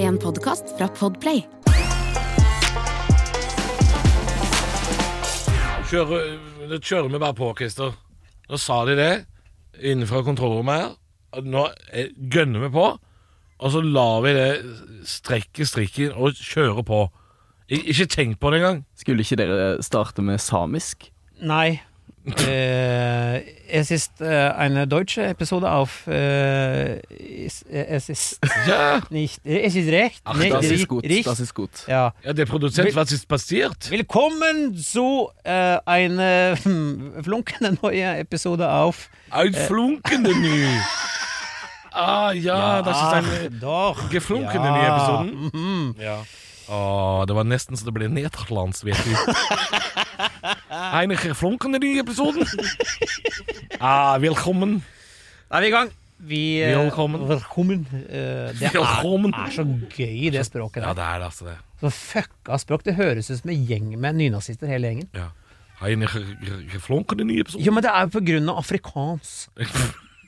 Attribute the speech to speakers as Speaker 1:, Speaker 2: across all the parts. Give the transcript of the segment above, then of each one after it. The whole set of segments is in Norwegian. Speaker 1: En podkast fra Podplay.
Speaker 2: Kjører, det kjører vi bare på, Christer. Nå sa de det innenfra kontrollrommet her. at Nå eh, gønner vi på, og så lar vi det strekke strikken og kjøre på. I, ikke tenk på det engang.
Speaker 3: Skulle ikke dere starte med samisk?
Speaker 4: Nei. Eh, es ist eh, eine deutsche Episode auf äh, Es ist
Speaker 2: Ja,
Speaker 4: nicht eh, Es ist recht.
Speaker 2: Ach,
Speaker 4: nicht
Speaker 3: Das ist
Speaker 4: ri-
Speaker 3: gut.
Speaker 4: richt-
Speaker 3: Das ist gut.
Speaker 4: Ja.
Speaker 2: ja det er produsent hva sist passert.
Speaker 4: Willkommen zu äh, einer hm, flunkenden neuen Episode auf
Speaker 2: Ein flunkende ny. Ah, ja, das ist
Speaker 4: Ach,
Speaker 2: ein
Speaker 4: Ah, doch.
Speaker 2: geflunkende ny episoden.
Speaker 4: Mhm.
Speaker 2: Ja. Å, det var nesten så det ble nederlandsk, vet du. Eine geflunkende ny episoden. Ah, velkommen.
Speaker 4: Da er vi i gang. Vi, eh,
Speaker 2: Velkommen.
Speaker 4: velkommen. Eh, det er,
Speaker 2: Velkommen.
Speaker 4: er så gøy, det språket
Speaker 2: Ja,
Speaker 4: der.
Speaker 2: det er det, altså det.
Speaker 4: Så fucka språk. Det høres ut som en gjeng med nynazister, hele gjengen.
Speaker 2: Ja. Har jeg ikke geflunket den nye episoden?
Speaker 4: Jo, men det er jo på grunn av afrikansk.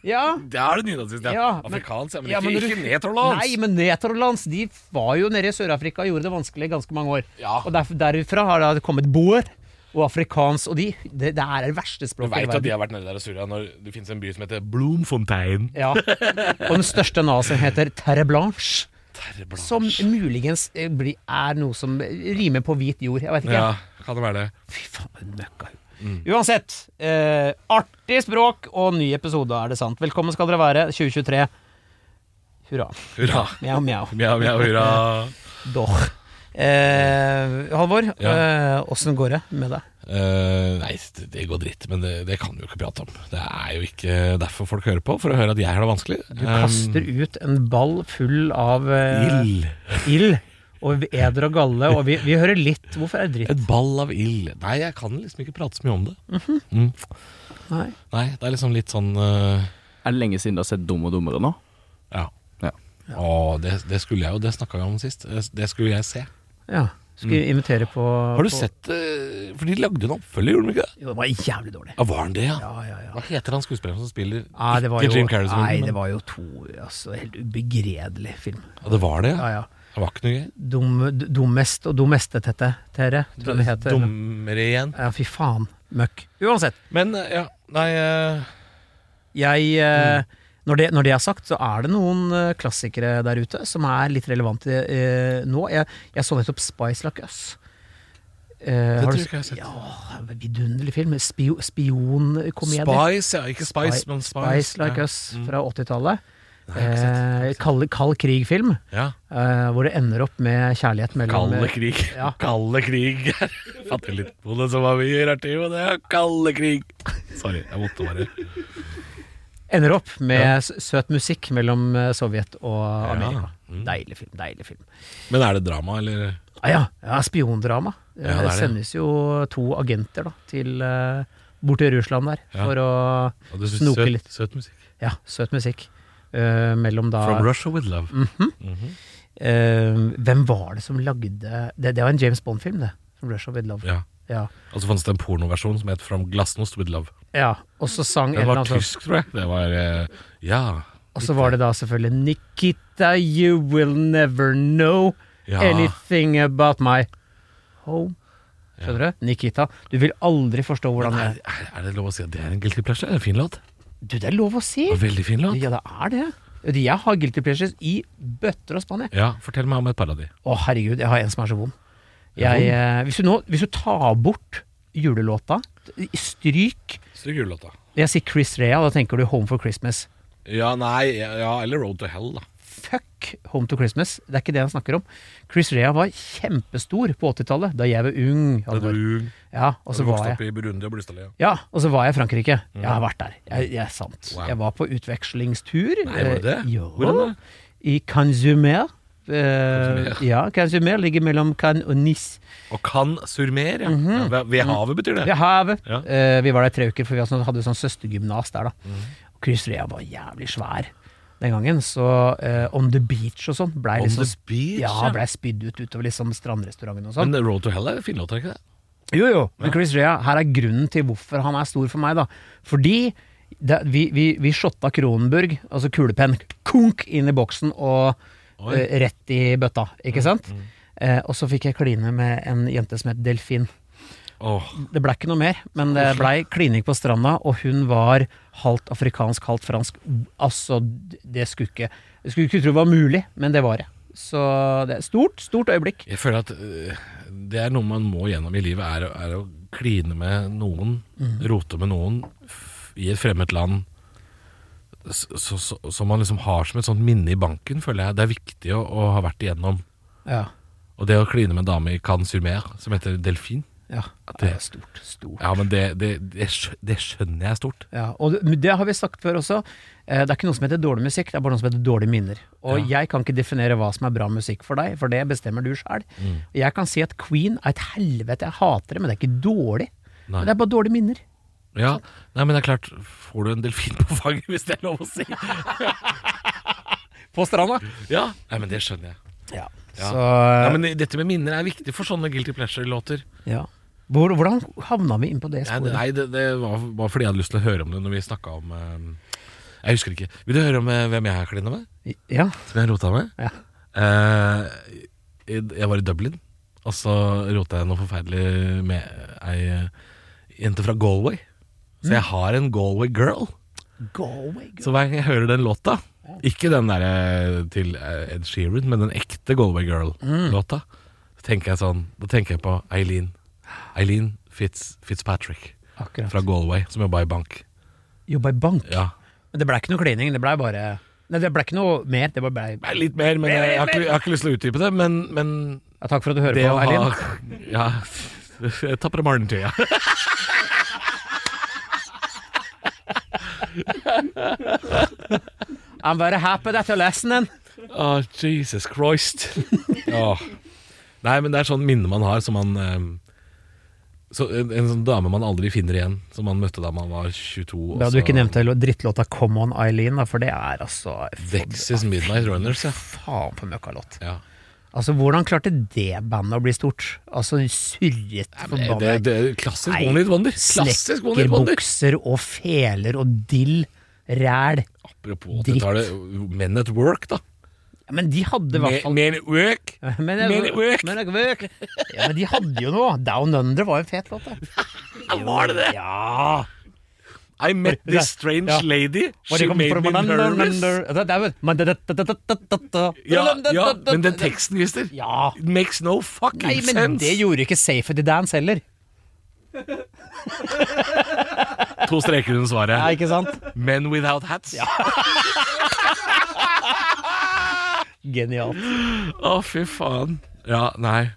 Speaker 4: Ja.
Speaker 2: Det er det nye, da, synes jeg.
Speaker 4: Ja, men-
Speaker 2: Afrikansk, ja, men,
Speaker 4: ja, men
Speaker 2: ikke,
Speaker 4: du-
Speaker 2: ikke nederlandsk.
Speaker 4: Nei, men Netrolands de var jo nede i Sør-Afrika og gjorde det vanskelig i ganske mange år.
Speaker 2: Ja.
Speaker 4: Og derf derfra har det kommet boer og afrikansk, og de, det, det er det verste
Speaker 2: Du
Speaker 4: språket i
Speaker 2: vet at de
Speaker 4: verden.
Speaker 2: har vært nede der i Syria når det finnes en by som heter Bloemfontein.
Speaker 4: Ja. Og den største nazien heter Terre Blanche, som muligens eh, blir- er noe som rimer på hvit jord. Jeg vet ikke.
Speaker 2: Ja, Mm. kan det være det.
Speaker 4: Fy faen, for en møkka. Uansett, eh, artig språk og ny episode, er det sant. Velkommen skal dere være, 2023. Hurra.
Speaker 2: Hurra.
Speaker 4: Mjau, mjau.
Speaker 2: Mjau, mjau, hurra.
Speaker 4: Doch. Eh, Halvor, eh,
Speaker 2: Ja.
Speaker 4: åssen går det med deg?
Speaker 2: Eh, nei, det, det går dritt, men det, det kan vi jo ikke prate om. Det er jo ikke derfor folk hører på, for å høre at jeg har det vanskelig.
Speaker 4: Du kaster ut en ball full av eh,
Speaker 2: Ild.
Speaker 4: ild og eder og galle, og vi, vi hører litt Hvorfor er det dritt?
Speaker 2: Et ball av ild. Nei, jeg kan liksom ikke prate så mye om det. mm.
Speaker 4: Nei.
Speaker 2: Nei, det er liksom litt sånn eh,
Speaker 3: Er det lenge siden du har sett Dum og dummere nå?
Speaker 2: Ja.
Speaker 3: Ja.
Speaker 2: Å, det, det skulle jeg jo, det snakka vi om sist. Eh, Det skulle jeg se.
Speaker 4: Ja. Skal vi invitere på
Speaker 2: Mm. Har du
Speaker 4: på,
Speaker 2: sett eh, For de lagde en oppfølger, gjorde de ikke det?
Speaker 4: Jo, det var jævlig dårlig.
Speaker 2: Ja, var han det, ja?
Speaker 4: Ja, ja, ja.
Speaker 2: Hva heter han skuespilleren som spiller
Speaker 4: Nei, det var
Speaker 2: ikke
Speaker 4: jo,
Speaker 2: Jim Carrey?
Speaker 4: nei, det var jo to altså, helt ubegredelig film.
Speaker 2: ja, det var det, ja.
Speaker 4: Ja, ja.
Speaker 2: Det var ikke noe gøy.
Speaker 4: Dum, d- dummest og dumestetette, Tere, tror jeg det heter.
Speaker 2: Dummere igjen.
Speaker 4: Ja, fy faen. Møkk. Uansett.
Speaker 2: Men eh, ja, nei eh,
Speaker 4: Jeg, eh,
Speaker 2: Mm.
Speaker 4: når, det, når det er sagt, så er det noen eh, klassikere der ute som er litt relevante eh, nå. Jeg, jeg så nettopp Spice Like Us. Eh, har
Speaker 2: tror
Speaker 4: du
Speaker 2: jeg ikke jeg har sett.
Speaker 4: Ja, vidunderlig film. Spio, Spionkomedie.
Speaker 2: Spice, ja. Ikke Spice, men Spice.
Speaker 4: Spice Like
Speaker 2: ja.
Speaker 4: Us fra 80-tallet.
Speaker 2: Nei, jeg har ikke sett, jeg har
Speaker 4: Eh, kald, kald krig-film,
Speaker 2: Ja.
Speaker 4: eh, hvor det ender opp med kjærlighet mellom
Speaker 2: Kalde krig.
Speaker 4: Ja.
Speaker 2: Kalde krig. Jeg fatter litt på det som var mye rart i og det. er Kalde krig. Sorry, jeg måtte bare
Speaker 4: Ender opp med s- søt musikk mellom eh, Sovjet og Amerika.
Speaker 2: Mm.
Speaker 4: Deilig film. Deilig film.
Speaker 2: Men er det drama, eller?
Speaker 4: Ah, ja, ja, spiondrama.
Speaker 2: det er
Speaker 4: det,
Speaker 2: det.
Speaker 4: sendes jo to agenter da, til, eh, bort til Russland der
Speaker 2: Ja.
Speaker 4: for å
Speaker 2: Og du synes
Speaker 4: Snoke
Speaker 2: søt,
Speaker 4: litt.
Speaker 2: Søt musikk.
Speaker 4: Ja, søt musikk. Eh, mellom da
Speaker 2: From Russia with love.
Speaker 4: Mhm.
Speaker 2: Mhm.
Speaker 4: eh, Hvem var det som lagde Det, det var en James Bond-film, det. From Russia with Love.
Speaker 2: Ja.
Speaker 4: Ja.
Speaker 2: Og så fantes det en pornoversjon som het From Glasnost with love.
Speaker 4: ja. Og så sang
Speaker 2: Den var
Speaker 4: Ellen altså,
Speaker 2: tysk, tror jeg. Det var eh, Ja.
Speaker 4: sånn, Og så var det da selvfølgelig Nikita, you will never know
Speaker 2: Ja.
Speaker 4: anything about my home. Skjønner du? Nikita. Du vil aldri forstå hvordan
Speaker 2: er,
Speaker 4: jeg
Speaker 2: er, er det lov å si at det er en guilty pleasure? Det er en fin låt.
Speaker 4: Du, det er lov å si!
Speaker 2: Det var Veldig fin låt.
Speaker 4: Ja, det er det. Vet du, Jeg har guilty pleasures i bøtter og spann. jeg.
Speaker 2: Ja, fortell meg om et par av de.
Speaker 4: Å, herregud, jeg har en som er så vond.
Speaker 2: Er
Speaker 4: Jeg, eh, hvis, du nå, hvis du tar bort julelåta, stryk
Speaker 2: Stygg julelåta.
Speaker 4: Jeg sier Chris Rea, da tenker du Home for Christmas.
Speaker 2: Ja, nei, ja, ja, eller Road to Hell, da.
Speaker 4: Fuck Home to Christmas, det er ikke det han snakker om. Chris Rea var kjempestor på 80-tallet, da jeg var ung.
Speaker 2: Da
Speaker 4: Halvor.
Speaker 2: du
Speaker 4: Ja,
Speaker 2: da
Speaker 4: og
Speaker 2: du
Speaker 4: så var
Speaker 2: vokste
Speaker 4: jeg
Speaker 2: opp i Burundi og Blystadlia.
Speaker 4: ja, og så var jeg i Frankrike. Jeg har vært der. Jeg, jeg er sant.
Speaker 2: Mm. Wow.
Speaker 4: Jeg var på utvekslingstur.
Speaker 2: Nei, var det det?
Speaker 4: Eh, Ja.
Speaker 2: Hvordan da?
Speaker 4: I Canzumer. Eh,
Speaker 2: Canzumer.
Speaker 4: ja, Canzumer ligger mellom Cannes og Nice.
Speaker 2: Og kan surmer, ja.
Speaker 4: Mhm.
Speaker 2: ja ved, ved havet betyr det.
Speaker 4: Ved havet.
Speaker 2: Ja. Mm.
Speaker 4: Eh, vi var der i tre uker, for vi hadde sånn- hadde sånn søstergymnas der, da. Og Chris Rea var jævlig svær den gangen, så eh, On the Beach og sånn blei
Speaker 2: On
Speaker 4: liksom
Speaker 2: the beach.
Speaker 4: ja, blei spydd ut utover liksom strandrestauranten og sånn.
Speaker 2: Men Road to Hell er en fin låt, er det ikke det?
Speaker 4: Jo, jo. Men Chris Rea, her er grunnen til hvorfor han er stor for meg, da. Fordi det, vi, vi, vi shotta Kronenburg, altså kulepenn, kunk, inn i boksen og
Speaker 2: Oi.
Speaker 4: eh, rett i bøtta, ikke sant? Eh, og så fikk jeg kline med en jente som het Delfin.
Speaker 2: Åh,
Speaker 4: Det blei ikke noe mer, men det blei klining på stranda, og hun var halvt afrikansk, halvt fransk. Altså, det skulle ikke Jeg skulle ikke tro det var mulig, men det var det. Så det er stort, stort øyeblikk.
Speaker 2: jeg føler at øh, det er noe man må gjennom i livet, er, å- er å kline med noen,
Speaker 4: Mhm.
Speaker 2: rote med noen f- i et fremmed land. s- så- så- Som man liksom har som et sånt minne i banken, føler jeg. Det er viktig å, å ha vært igjennom.
Speaker 4: Ja.
Speaker 2: Og det å kline med en dame i Cannes sur Mer, som heter Delfin
Speaker 4: Ja, det er stort. Stort.
Speaker 2: Ja, men det, det, det, skjø- det skjønner jeg er stort.
Speaker 4: Ja, og det- det har vi sagt før også. Eh, Det er ikke noe som heter dårlig musikk, det er bare noe som heter dårlige minner. Og jeg kan ikke definere hva som er bra musikk for deg, for det bestemmer du sjøl.
Speaker 2: Mm.
Speaker 4: Jeg kan si at Queen er et helvete, jeg hater det, men det er ikke dårlig.
Speaker 2: Nei.
Speaker 4: Men det er bare dårlige minner.
Speaker 2: Ja, nei, men det er klart Får du en delfin på fanget, hvis det er lov å si?
Speaker 4: På stranda.
Speaker 2: Ja, nei, men det skjønner jeg.
Speaker 4: Ja.
Speaker 2: Ja.
Speaker 4: Så
Speaker 2: Nei, men Dette med minner er viktig for sånne Guilty Pleasure-låter.
Speaker 4: ja. Hvor, Hvordan havna vi inn på det
Speaker 2: Nei,
Speaker 4: sporet?
Speaker 2: det, nei, det, det var bare fordi jeg hadde lyst til å høre om det når vi snakka om eh, Jeg husker ikke. Vil du høre om eh, hvem jeg har klina med?
Speaker 4: Ja.
Speaker 2: Som jeg rota med?
Speaker 4: ja.
Speaker 2: Eh, jeg jeg var i Dublin, og så rota jeg noe forferdelig med ei eh, jente fra Galway. Så jeg har en Galway girl.
Speaker 4: Go away, girl.
Speaker 2: Så hver gang jeg hører den låta Ikke den der eh, til eh, Ed Sheeran, men den ekte Galway Girl-låta. Så tenker jeg sånn Da tenker jeg på Eileen. Eileen Fitz, Fitzpatrick
Speaker 4: Akkurat.
Speaker 2: fra Galway, som jobba i bank.
Speaker 4: Jobba i bank.
Speaker 2: Ja.
Speaker 4: Men det blei ikke noe klining, det blei bare Nei, det blei ikke noe mer. Det bare blei
Speaker 2: Nei, Litt mer, men jeg, jeg, har, ikke, jeg har ikke lyst til å utdype det. Men, men
Speaker 4: ja, Takk for at du hører
Speaker 2: det
Speaker 4: på,
Speaker 2: å
Speaker 4: Erlin.
Speaker 2: ha Ja. Jeg tapper morgentida.
Speaker 4: I'm very happy that you're listening.
Speaker 2: Å, Ah, Jesus Christ. Åh. Nei, men det er sånn minne man har som man eh, så en, en sånn dame man aldri finner igjen, som man møtte da man var 22. og
Speaker 4: Da du
Speaker 2: så-
Speaker 4: ikke nevnte lo- drittlåta 'Come On Eileen', da, for det er altså
Speaker 2: Dexys Midnight Runners, ja.
Speaker 4: Faen for møkkalåt.
Speaker 2: ja.
Speaker 4: Altså, hvordan klarte det bandet å bli stort? Altså, surret
Speaker 2: Det,
Speaker 4: forbanna
Speaker 2: det, klassisk
Speaker 4: Nei,
Speaker 2: One Hit Wonder. Klassisk One Hit Wonder.
Speaker 4: Snekkerbukser og feler og dill. Ræl.
Speaker 2: Apropos
Speaker 4: Dritt.
Speaker 2: 80-tallet, Men at Work, da.
Speaker 4: Ja, Men de hadde i hvert fall
Speaker 2: Men at Work.
Speaker 4: Men
Speaker 2: Men it work.
Speaker 4: Men it work. Ja, men de hadde jo noe. Down Under var jo en fet låt, da.
Speaker 2: Var det det?
Speaker 4: Ja.
Speaker 2: I met this strange
Speaker 4: Ja.
Speaker 2: lady.
Speaker 4: Hvor de
Speaker 2: She
Speaker 4: kom
Speaker 2: made
Speaker 4: fra-
Speaker 2: me nervous.
Speaker 4: Det er vel- Men det- det- det- det- det- det- det-
Speaker 2: Ja, ja, men den teksten, Christer.
Speaker 4: Ja.
Speaker 2: It makes no fucking
Speaker 4: Nei, men
Speaker 2: sense.
Speaker 4: det gjorde ikke Safety Dance heller.
Speaker 2: To streker under svaret.
Speaker 4: Ja, ikke sant?
Speaker 2: Men without hats.
Speaker 4: Genialt.
Speaker 2: Å, fy faen. Ja, nei.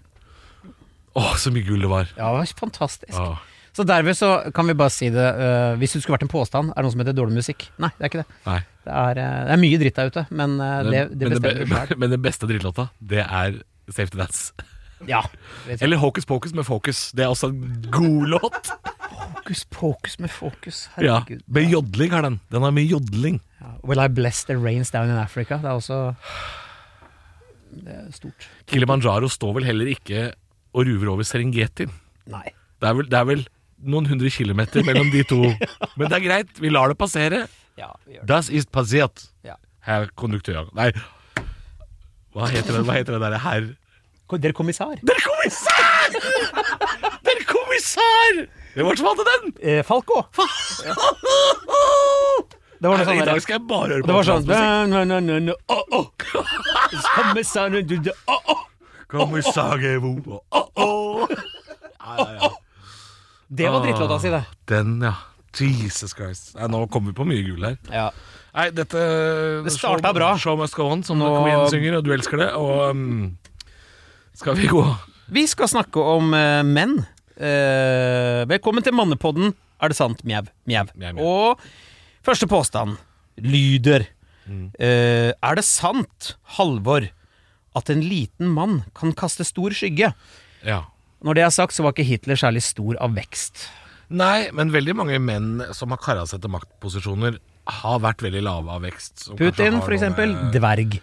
Speaker 2: Å, så mye gull det var.
Speaker 4: Ja, det var fantastisk.
Speaker 2: Å.
Speaker 4: Så derved så kan vi bare si det øh, Hvis det skulle vært en påstand, er det noe som heter dårlig musikk? Nei, det er ikke det.
Speaker 2: Nei.
Speaker 4: Det er, øh, det er mye dritt der ute, men øh, det, det
Speaker 2: men,
Speaker 4: bestemmer du
Speaker 2: be-
Speaker 4: sjøl.
Speaker 2: men den beste drittlåta, det er Safety Dance.
Speaker 4: Ja. Vet du.
Speaker 2: Eller Hocus Pocus med Focus. Det er også en god låt.
Speaker 4: Fokus, fokus med fokus.
Speaker 2: Ja,
Speaker 4: Herregud.
Speaker 2: Med jodling har den. Den har mye jodling.
Speaker 4: Ja. Will I bless the rains down in Africa? Det er også Det er stort.
Speaker 2: Kilimanjaro står vel heller ikke og ruver over Serengeti.
Speaker 4: Nei.
Speaker 2: Det er vel, det er vel noen hundre kilometer mellom de to. Men det er greit, vi lar det passere.
Speaker 4: Ja, vi gjør det.
Speaker 2: Das ist passiert,
Speaker 4: Ja.
Speaker 2: herr konduktør. Nei, hva heter det, hva heter det derre herr
Speaker 4: Ko- Dere kommissær?
Speaker 2: Der kommissær! Der kommissær! Det var som hadde den!
Speaker 4: Eh, Falco! Det var noe
Speaker 2: Nei,
Speaker 4: sånn
Speaker 2: I dag
Speaker 4: der-
Speaker 2: skal jeg bare høre
Speaker 4: Det
Speaker 2: på
Speaker 4: var sånn
Speaker 2: transmusikk.
Speaker 4: Nå, nå, nå, nå, å, å. Så kommer sangen, du, du, å, å.
Speaker 2: Kommissær Evo. Å, å.
Speaker 4: Det var drittlåta si, det.
Speaker 2: Den, ja. Jesus Christ. Nei, nå kommer vi på mye gull her. Nei, dette
Speaker 4: Det starta bra.
Speaker 2: Show must go on, som
Speaker 4: Nå-
Speaker 2: Comedian synger, og du elsker det. Og mm, skal vi gå
Speaker 4: Vi skal snakke om eh, menn. Eh, velkommen til Mannepodden. Er det sant? Mjau. Mjau.
Speaker 2: Mjau, mjau.
Speaker 4: Og første påstand lyder
Speaker 2: Mm.
Speaker 4: eh, Er det sant, Halvor, at en liten mann kan kaste stor skygge?
Speaker 2: Ja.
Speaker 4: Når det er sagt, så var ikke Hitler særlig stor av vekst.
Speaker 2: Nei, men veldig mange menn som har kara seg til maktposisjoner, har vært veldig lave av vekst. som kanskje
Speaker 4: Putin,
Speaker 2: har
Speaker 4: for
Speaker 2: noe
Speaker 4: eksempel,
Speaker 2: med-
Speaker 4: dverg.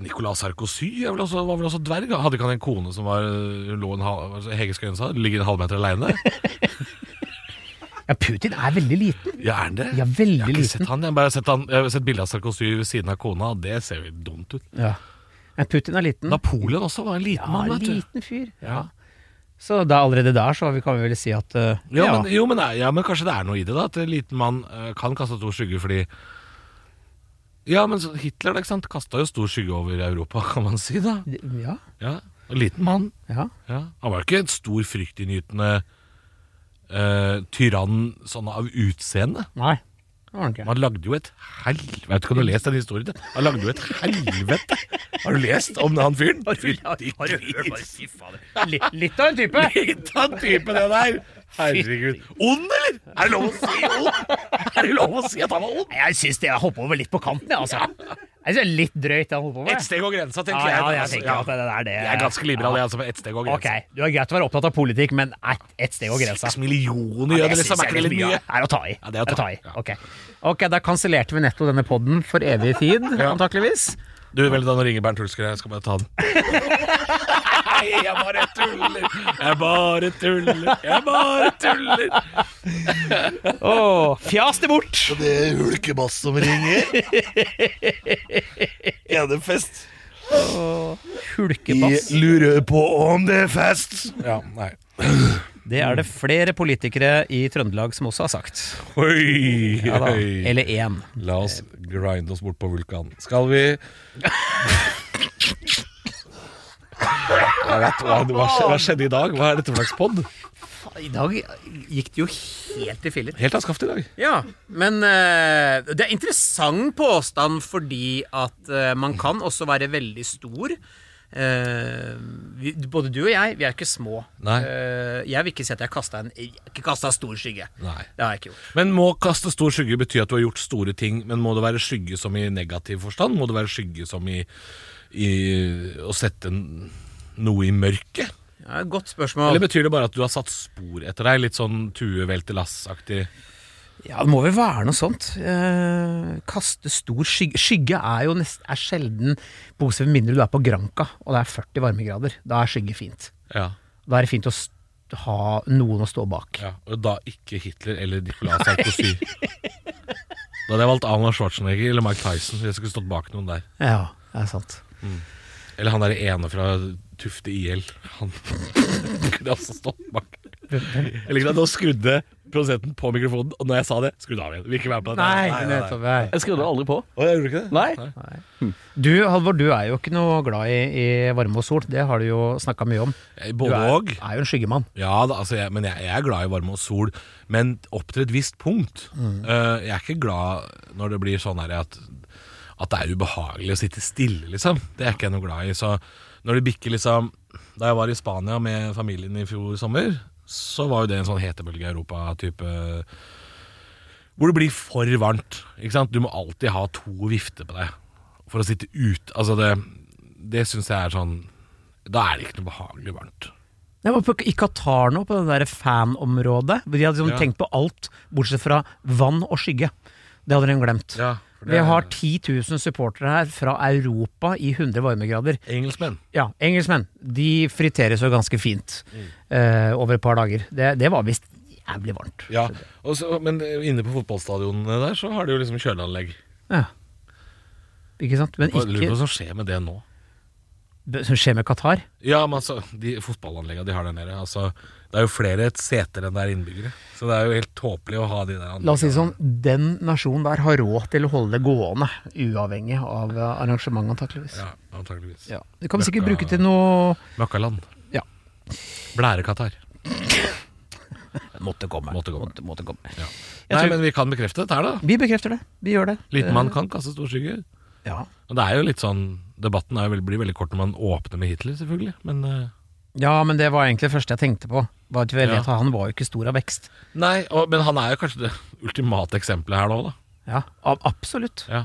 Speaker 2: Nicolas Sarkozy er vel også, var vel også dverg? Hadde ikke han en kone som var, hun lå en halv, altså, Hege Skøyen sa, ligger en halvmeter aleine?
Speaker 4: Ja, Putin er veldig liten.
Speaker 2: Ja, er han det?
Speaker 4: Ja, veldig
Speaker 2: jeg har ikke
Speaker 4: liten.
Speaker 2: sett han, jeg har bare sett, han, jeg har sett bilde av Sarkozy ved siden av kona, og det ser jo dumt ut.
Speaker 4: Ja. Men Putin er liten.
Speaker 2: Napoleon også var en liten
Speaker 4: ja,
Speaker 2: mann, vet du.
Speaker 4: liten fyr.
Speaker 2: Ja.
Speaker 4: Så da allerede der så vi- kan vi vel si at eh,
Speaker 2: Ja, Men, jo, men, ja, men kanskje det er noe i det, da. At en liten mann eh, kan kaste stor skygge fordi Ja, men så Hitler ikke sant, kasta jo stor skygge over Europa, kan man si, da.
Speaker 4: ja,
Speaker 2: Ja, En liten mann.
Speaker 4: ja.
Speaker 2: Ja. Han var jo ikke en stor fryktinngytende eh, tyrann sånn av utseende.
Speaker 4: Nei, det var han ikke.
Speaker 2: Man lagde jo et helvete Jeg vet ikke om du har lest den historien? Han lagde jo et helvete! Har du lest om han fyren? Fytti gris!
Speaker 4: Li- Litt av en type!
Speaker 2: Litt av en type, det der! Herregud. Ond, eller? Er det lov å si ond? Er det lov å si at han var ond?
Speaker 4: Jeg syns det hopper over litt på kanten, jeg, altså. Jeg synes det er litt drøyt, det han holder på
Speaker 2: Et
Speaker 4: med.
Speaker 2: steg over grensa,
Speaker 4: Ja,
Speaker 2: tenker
Speaker 4: ja,
Speaker 2: jeg.
Speaker 4: jeg tenker at det der, det
Speaker 2: Jeg er ganske liberal, jeg, altså. men Et steg over
Speaker 4: Ok,
Speaker 2: grensa.
Speaker 4: du er greit å være opptatt av politikk, men ett et steg over grensa.
Speaker 2: Seks millioner gjør det, liksom. Er ikke det litt mye?
Speaker 4: Er å ta i.
Speaker 2: Ja, det er å ta i, ja.
Speaker 4: Ok, Ok, da kansellerte vi netto denne podden for evig tid, antakeligvis.
Speaker 2: Du, vel, da nå ringer Bernt Hulsker, jeg skal bare ta den. Nei, jeg bare tuller. Jeg bare tuller. Jeg bare tuller.
Speaker 4: Åh, fjas det bort!
Speaker 1: Det er hulkebass som ringer. Er det fest? Jeg
Speaker 4: Hulkebass.
Speaker 1: lurer på om det er fest.
Speaker 2: Ja, nei.
Speaker 4: Det er det flere politikere i Trøndelag som også har sagt.
Speaker 2: Oi,
Speaker 4: Ja da.
Speaker 2: oi.
Speaker 4: Eller én.
Speaker 2: La oss grinde oss bort på vulkanen. Skal vi Jeg vet, hva, hva, skje- hva skjedde i dag? Hva er dette for slags pod?
Speaker 4: I dag gikk det jo helt i filler.
Speaker 2: Helt av skaftet i dag.
Speaker 4: Ja, men eh, det er interessant påstand fordi at eh, man kan også være veldig stor. Eh, vi, både du og jeg, vi er ikke små.
Speaker 2: Nei.
Speaker 4: Eh, jeg vil ikke si at jeg kasta en, jeg har ikke kastet en stor skygge.
Speaker 2: Nei.
Speaker 4: Det har jeg ikke gjort.
Speaker 2: Men må kaste stor skygge bety at du har gjort store ting, men må det være skygge som i negativ forstand? Må det være skygge som i, i å sette n- noe i mørket?
Speaker 4: Ja, godt spørsmål.
Speaker 2: Eller betyr det bare at du har satt spor etter deg, litt sånn Tue velte lass-aktig?
Speaker 4: Ja, det må vel være noe sånt. Eh, kaste stor skygge Skygge er jo nest, er sjelden positivt, med mindre du er på Granca og det er 40 varmegrader. Da er skygge fint.
Speaker 2: Ja.
Speaker 4: Da er det fint å st ha noen å stå bak.
Speaker 2: ja. Og da ikke Hitler eller Nicolas Sarkozy. Da hadde jeg valgt Arnold Schwarzenegger eller Mike Tyson. Hvis jeg skulle stått bak noen der
Speaker 4: Ja, det er sant.
Speaker 2: Eller han der ene fra Tufte IL. Han kunne også stått bak. Jeg liker at nå skrudde produsenten på mikrofonen, og når jeg sa det, skrudde av igjen. Vil ikke være med på dette.
Speaker 4: Nei, nettopp. Nei.
Speaker 3: Jeg skrudde aldri på.
Speaker 2: Å, jeg gjorde ikke det?
Speaker 3: Nei.
Speaker 4: Du, Halvor, du er jo ikke noe glad i, i varme og sol. Det har du jo snakka mye om.
Speaker 2: Eh,
Speaker 4: Du
Speaker 2: Både
Speaker 4: er,
Speaker 2: og.
Speaker 4: er jo en skyggemann.
Speaker 2: Ja, da, altså jeg, men jeg, jeg er glad i varme og sol, men opp til et visst punkt.
Speaker 4: Mm.
Speaker 2: Eh, jeg er ikke glad når det blir sånn her at, at det er ubehagelig å sitte stille, liksom. Det er ikke jeg noe glad i. Så når det bikker liksom Da jeg var i Spania med familien i fjor sommer, så var jo det en sånn hetebølge i Europa-type Hvor det blir for varmt. Ikke sant? Du må alltid ha to vifter på deg for å sitte ute. Altså det, det syns jeg er sånn Da er det ikke noe behagelig varmt.
Speaker 4: Jeg var på, i Qatar nå, på det der fanområdet. hvor De hadde liksom
Speaker 2: Ja.
Speaker 4: tenkt på alt, bortsett fra vann og skygge. Det hadde de glemt.
Speaker 2: Ja, for det
Speaker 4: Vi
Speaker 2: er-
Speaker 4: har 10 000 supportere her fra Europa i 100 varmegrader.
Speaker 2: Engelskmenn.
Speaker 4: Ja, engelskmenn. De friteres jo ganske fint
Speaker 2: Mm.
Speaker 4: eh, over et par dager. Det, det var visst jævlig varmt.
Speaker 2: Ja, og så, Men eh, inne på fotballstadionene der så har de jo liksom kjøleanlegg.
Speaker 4: Ja. Ikke sant? Men
Speaker 2: Jeg lurer på
Speaker 4: ikke
Speaker 2: hva som skjer med det nå.
Speaker 4: det som skjer med Qatar.
Speaker 2: Ja, men altså, de fotballanleggene de har der nede altså, Det er jo flere seter enn det er innbyggere. Så det er jo helt tåpelig å ha de der
Speaker 4: La oss si det sånn, den nasjonen der har råd til å holde det gående, uavhengig av eh, arrangementet, antakeligvis.
Speaker 2: Ja, antageligvis.
Speaker 4: Ja. Det kan vi sikkert
Speaker 2: Møkka-
Speaker 4: bruke til noe
Speaker 2: Møkkaland.
Speaker 4: Ja.
Speaker 2: Blærekatar.
Speaker 4: Måtte komme.
Speaker 2: Måtte komme. Ja.
Speaker 4: Jeg
Speaker 2: Nei,
Speaker 4: tror-
Speaker 2: men vi kan bekrefte dette her, da.
Speaker 4: Vi bekrefter det. Vi gjør det. Eh,
Speaker 2: Liten mann kan kaste stor skygge.
Speaker 4: Ja.
Speaker 2: Og det er jo litt sånn Debatten er jo veldig, blir veldig kort når man åpner med Hitler, selvfølgelig. Men eh,
Speaker 4: ja, men det var egentlig det første jeg tenkte på. Var at vi vet
Speaker 2: Ja.
Speaker 4: at Han var jo ikke stor av vekst.
Speaker 2: Nei, og, men han er jo kanskje det ultimate eksempelet her nå, da.
Speaker 4: Ja, ab- absolutt.
Speaker 2: Ja.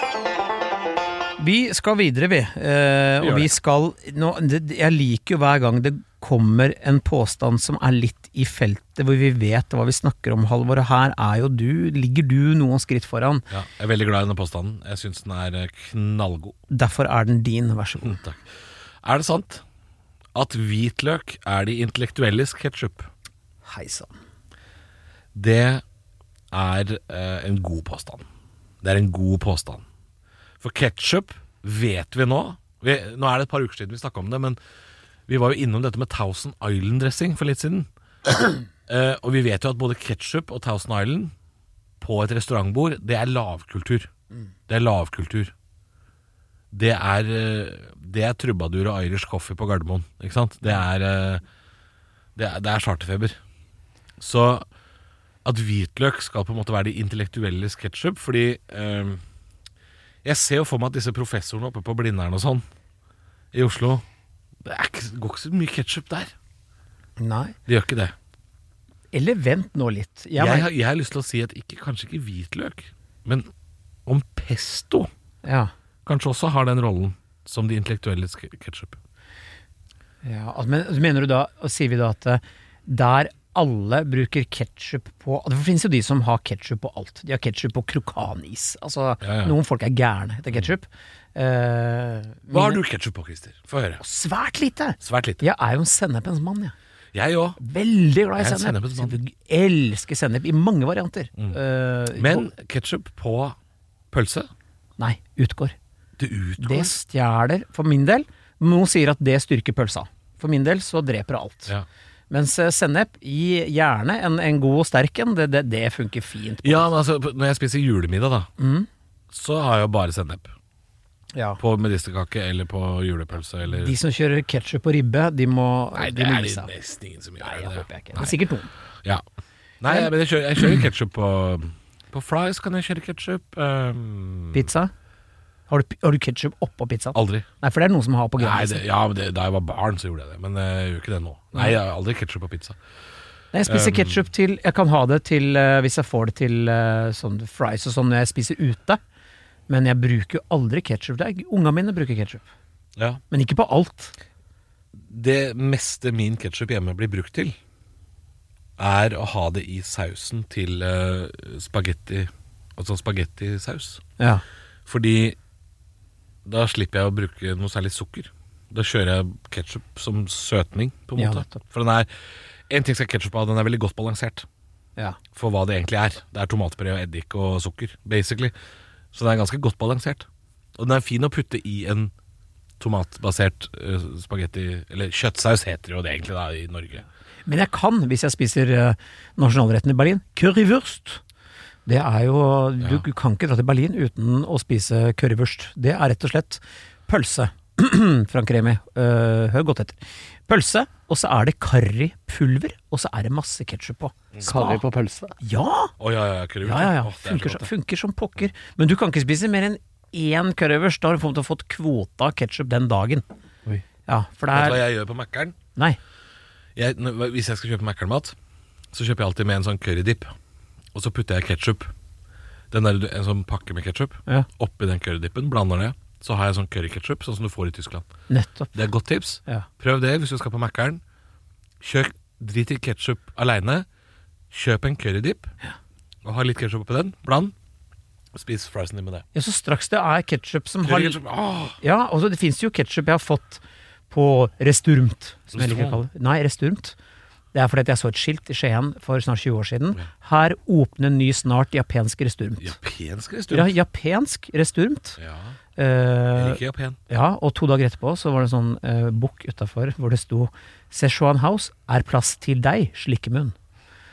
Speaker 4: Vi skal videre, vi. Eh,
Speaker 2: gjør
Speaker 4: og vi Eh,
Speaker 2: det.
Speaker 4: skal nå, det, Jeg liker jo hver gang det kommer en påstand som er litt i feltet, hvor vi vet hva vi snakker om, Halvor. Og her er jo du, ligger du noen skritt foran.
Speaker 2: Ja, jeg er veldig glad i denne påstanden. Jeg syns den er eh, knallgod.
Speaker 4: Derfor er den din, vær så god.
Speaker 2: Takk. Er det sant at hvitløk er de intellektuelles ketsjup? Mm.
Speaker 4: Hei sann.
Speaker 2: Det er eh, en god påstand. Det er en god påstand. For ketsjup vet vi nå vi, Nå er det et par uker siden vi snakka om det, men vi var jo innom dette med Thousand Island-dressing for litt siden. Eh, og vi vet jo at både ketsjup og Thousand Island på et restaurantbord, det er lavkultur. Det er lavkultur. Det er, eh, det er trubadur og Irish coffee på Gardermoen. Ikke sant? Det er, eh, det er, det er charterfeber. Så at hvitløk skal på en måte være de intellektuelle ketsjup, fordi eh, jeg ser jo for meg at disse professorene oppe på Blindern og sånn i Oslo Det er ikke, går ikke så mye ketsjup der.
Speaker 4: Nei.
Speaker 2: Det gjør ikke det.
Speaker 4: Eller vent nå litt. Jeg
Speaker 2: Jeg,
Speaker 4: mener-
Speaker 2: har- jeg har lyst til å si at ikke, kanskje ikke hvitløk, men om pesto
Speaker 4: ja.
Speaker 2: kanskje også har den rollen som de intellektuelle ketsjup.
Speaker 4: Ja, altså, men så mener du da, og sier vi da at eh, der alle bruker ketsjup på altså, Det finnes jo de som har ketsjup på alt. De har ketsjup på krokanis. Altså,
Speaker 2: Ja, ja.
Speaker 4: noen folk er gærne etter ketsjup.
Speaker 2: Hva har du ketsjup på, Christer? Få høre.
Speaker 4: Svært lite!
Speaker 2: Svært lite.
Speaker 4: Jeg er jo en sennepens mann, jeg.
Speaker 2: Jeg òg.
Speaker 4: Veldig glad i
Speaker 2: Jeg er en
Speaker 4: sennep.
Speaker 2: sennepens mann. Mm.
Speaker 4: Jeg Elsker sennep i mange varianter. Eh,
Speaker 2: Men
Speaker 4: og-
Speaker 2: ketsjup på pølse?
Speaker 4: Nei, utgår.
Speaker 2: Det utgår.
Speaker 4: Det stjeler, for min del Noen sier at det styrker pølsa. For min del så dreper det alt.
Speaker 2: Ja.
Speaker 4: Mens eh, sennep, i gjerne en, en god og sterk en, det, det, det funker fint.
Speaker 2: Ja, men altså, på- når jeg spiser julemiddag, da, så har jeg jo bare sennep.
Speaker 4: Ja.
Speaker 2: På medisterkake eller på julepølse eller
Speaker 4: De som kjører ketsjup og ribbe, de må
Speaker 2: Nei,
Speaker 4: de
Speaker 2: det
Speaker 4: må
Speaker 2: er
Speaker 4: gi
Speaker 2: det
Speaker 4: seg.
Speaker 2: nesten ingen som gjør.
Speaker 4: Nei,
Speaker 2: er
Speaker 4: jeg
Speaker 2: det
Speaker 4: håper jeg ikke.
Speaker 2: Nei.
Speaker 4: Men sikkert noen.
Speaker 2: Ja. Nei, men jeg kjører, jeg kjører ketsjup på På fries kan jeg kjøre ketsjup. Um,
Speaker 4: Pizza? Har du, har du ketsjup oppå pizzaen?
Speaker 2: aldri.
Speaker 4: Nei, for det er noen som har på
Speaker 2: Nei,
Speaker 4: Grandisen.
Speaker 2: det, ja, men det, Da jeg var barn, så gjorde jeg det. Men eh, jeg gjør ikke det nå. Nei, jeg har aldri ketsjup på pizza.
Speaker 4: Nei, jeg
Speaker 2: um,
Speaker 4: spiser ketchup til Jeg kan ha det til eh, hvis jeg får det til eh, sånn fries og sånn når jeg spiser ute. Men jeg bruker jo aldri ketsjup. Ungene mine bruker ketsjup.
Speaker 2: Ja.
Speaker 4: Men ikke på alt.
Speaker 2: Det meste min ketsjup hjemme blir brukt til, er å ha det i sausen til uh, spagetti Altså spagettisaus.
Speaker 4: Ja.
Speaker 2: Fordi da slipper jeg å bruke noe særlig sukker. Da kjører jeg ketsjup som søtning, på en
Speaker 4: Ja,
Speaker 2: måte.
Speaker 4: nettopp.
Speaker 2: For den er En ting skal ketsjup ha, den er veldig godt balansert
Speaker 4: ja.
Speaker 2: for hva det egentlig er. Det er tomatpuré og eddik og sukker, basically. Så den er ganske godt balansert. Og den er fin å putte i en tomatbasert eh, spagetti Eller kjøttsaus heter det jo det egentlig da i Norge.
Speaker 4: Men jeg kan, hvis jeg spiser eh, nasjonalretten i Berlin, currywurst. Det er jo du, du kan ikke dra til Berlin uten å spise currywurst. Det er rett og slett pølse. Frank Remi, eh, hør godt etter. Pølse, og så er det karripulver, og så er det masse ketsjup på.
Speaker 2: Mm.
Speaker 3: Karri på pølse.
Speaker 4: Ja!
Speaker 2: Å ja, ja, ja, curry.
Speaker 4: Ja, ja, ja.
Speaker 2: Å, det er så
Speaker 4: Funker,
Speaker 2: godt,
Speaker 4: som-
Speaker 2: det.
Speaker 4: funker som pokker. Men du kan ikke spise mer enn én currywurst. Da har du fått, fått kvota av ketsjup den dagen.
Speaker 3: Oi.
Speaker 4: Ja, for det
Speaker 2: Vet du hva
Speaker 4: er
Speaker 2: jeg gjør på Mækkern?
Speaker 4: Nei.
Speaker 2: jeg, når- Hvis jeg skal kjøpe Mækkern-mat, så kjøper jeg alltid med en sånn currydip. Og så putter jeg ketsjup, en sånn pakke med ketsjup,
Speaker 4: Ja.
Speaker 2: oppi den currydippen. Blander det. Så har jeg sånn curryketsjup, sånn som du får i Tyskland.
Speaker 4: Nettopp.
Speaker 2: Det er et godt tips.
Speaker 4: Ja.
Speaker 2: Prøv det hvis du skal på Mækkern. Kjør drit i ketsjup aleine. Kjøp en currydip, og ha litt ketsjup oppi den. Bland. Spis friesen din med det.
Speaker 4: Ja, så straks det er ketsjup som har
Speaker 2: Curryketchup, ah! åh!
Speaker 4: Ja, og så det finnes jo ketsjup jeg har fått på Resturmt. Som jeg liker å kalle
Speaker 2: Restaurant?
Speaker 4: det. Nei, Resturmt. Det er fordi at jeg så et skilt i Skien for snart 20 år siden. Her åpner ny snart japansk resturmt.
Speaker 2: Japansk
Speaker 4: Ja,
Speaker 2: restaurant.
Speaker 4: japansk resturmt.
Speaker 2: Ja.
Speaker 4: Eh,
Speaker 2: Ikke japan.
Speaker 4: Ja, og to dager etterpå så var det en sånn eh, bok utafor hvor det sto Sichuan House er plass til deg, slikkemunn.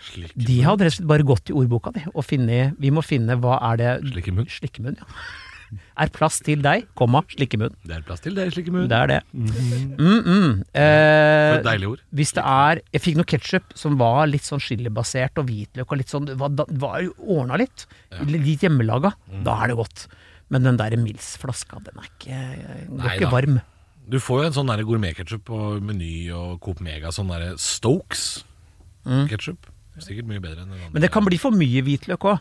Speaker 2: Slik,
Speaker 4: De hadde rett og slett bare gått i ordboka de, og funnet Vi må finne hva er det
Speaker 2: slik i munn.
Speaker 4: Slikkemunn, ja. er plass til deg, komma, slikkemunn.
Speaker 2: Det er plass til det, slik i munn.
Speaker 4: Det er det. Mm
Speaker 2: For
Speaker 4: Eh,
Speaker 2: et deilig ord.
Speaker 4: hvis det er Jeg fikk noe ketsjup som var litt sånn chilibasert og hvitløk og litt sånn Det var, da- var jo ordna litt. Litt hjemmelaga.
Speaker 2: Mm.
Speaker 4: Da er det godt. Men den der Mills-flaska, den er ikke, den går
Speaker 2: Nei
Speaker 4: ikke
Speaker 2: da.
Speaker 4: varm.
Speaker 2: Du får jo en sånn gourmetketsjup på Meny og Coop Mega. Sånn derre
Speaker 4: Mm.
Speaker 2: Stokes-ketsjup. Sikkert mye bedre enn den andre.
Speaker 4: Men det kan bli for mye hvitløk òg.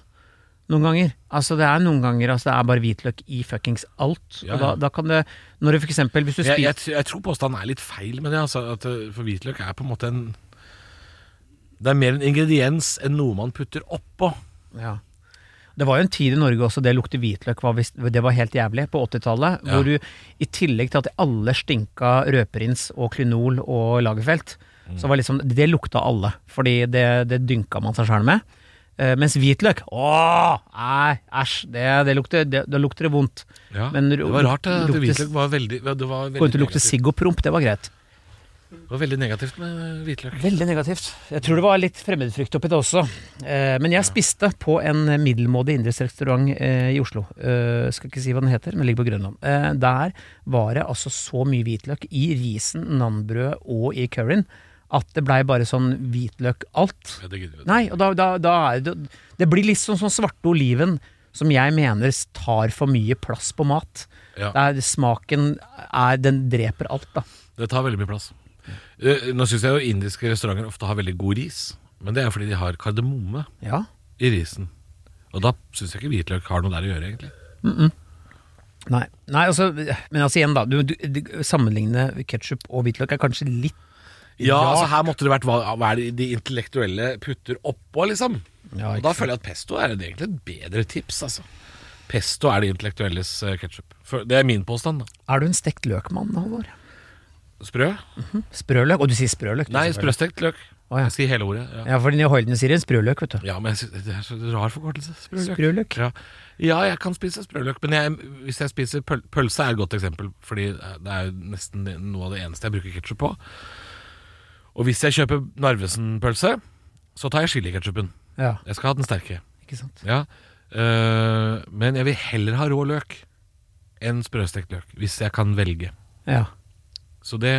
Speaker 4: Noen ganger. Altså Det er noen ganger altså, det er bare hvitløk i fuckings alt.
Speaker 2: Ja,
Speaker 4: Og
Speaker 2: ja.
Speaker 4: da, da kan det Når du for eksempel Hvis du
Speaker 2: Jeg,
Speaker 4: spiser
Speaker 2: jeg, jeg tror påstanden er litt feil med det. Altså, at, eh, for hvitløk er på en måte en Det er mer en ingrediens enn noe man putter oppå.
Speaker 4: Ja. Det var jo en tid i Norge også det lukte hvitløk var, visst- det var helt jævlig, på 80-tallet.
Speaker 2: Ja.
Speaker 4: Hvor du i tillegg til at alle stinka røperins og Klynol og Lagerfeld,
Speaker 2: Mm.
Speaker 4: så var liksom Det lukta alle, fordi det, det dynka man seg sjøl med. Eh, mens hvitløk Åh, nei, æsj, det, det, lukter, det, da lukter det vondt.
Speaker 2: Ja,
Speaker 4: Men
Speaker 2: det var rart det, at
Speaker 4: luktes-
Speaker 2: hvitløk var veldig Det var
Speaker 4: Gå
Speaker 2: veldig,
Speaker 4: rundt og lukte
Speaker 2: negativt.
Speaker 4: sigg og promp, det var greit.
Speaker 2: Det var veldig negativt med hvitløk.
Speaker 4: Veldig negativt. Jeg tror det var litt fremmedfrykt oppi det også. Eh, men jeg spiste på en middelmådig indisrestaurant eh, i Oslo. Eh, skal ikke si hva den heter, men ligger på Grønland. Eh, der var det altså så mye hvitløk i risen, nanbrødet og i curryen at det blei bare sånn hvitløk alt.
Speaker 2: Ja, det gidder vi ikke.
Speaker 4: Nei, og da, da, da er det Det blir litt sånn som svarte oliven, som jeg mener tar for mye plass på mat.
Speaker 2: Ja.
Speaker 4: Der smaken er Den dreper alt, da.
Speaker 2: Det tar veldig mye plass. Eh, Nå syns jeg jo indiske restauranter ofte har veldig god ris, men det er fordi de har kardemomme
Speaker 4: Ja.
Speaker 2: i risen. Og da syns jeg ikke hvitløk har noe der å gjøre, egentlig.
Speaker 4: Nei, Nei altså, men altså igjen da du, du, du, Sammenligne ketchup og hvitløk er kanskje litt
Speaker 2: Ja,
Speaker 4: Rart.
Speaker 2: altså her måtte det vært hva, hva er det de intellektuelle putter oppå, liksom.
Speaker 4: Ja,
Speaker 2: og
Speaker 4: ikke
Speaker 2: da
Speaker 4: sant.
Speaker 2: føler jeg at pesto er egentlig et bedre tips, altså. Pesto er de intellektuelles ketsjup. Det er min påstand, da.
Speaker 4: Er du en stekt løkmann, Halvor?
Speaker 2: Sprø?
Speaker 4: Sprø løk? Og du sier sprø løk? du,
Speaker 2: Nei,
Speaker 4: selvfølgelig.
Speaker 2: sprøstekt løk.
Speaker 4: Å, ja.
Speaker 2: Jeg sier hele ordet. Ja,
Speaker 4: Ja, for New Hoilene sier en sprø løk, vet du.
Speaker 2: ja men jeg sy- det er så rar forkortelse. Sprøløk.
Speaker 4: Sprøløk.
Speaker 2: Ja. ja, jeg kan spise sprøløk, men jeg, hvis jeg spiser pøl pølse er et godt eksempel, fordi eh, det er jo nesten noe av det eneste jeg bruker ketsjup på. Og hvis jeg kjøper Narvesen-pølse, så tar jeg chiliketsjupen.
Speaker 4: Ja,
Speaker 2: Jeg skal ha den sterke.
Speaker 4: ikke sant.
Speaker 2: Ja, øh, men jeg vil heller ha rå løk enn sprøstekt løk, hvis jeg kan velge.
Speaker 4: Ja.
Speaker 2: Så det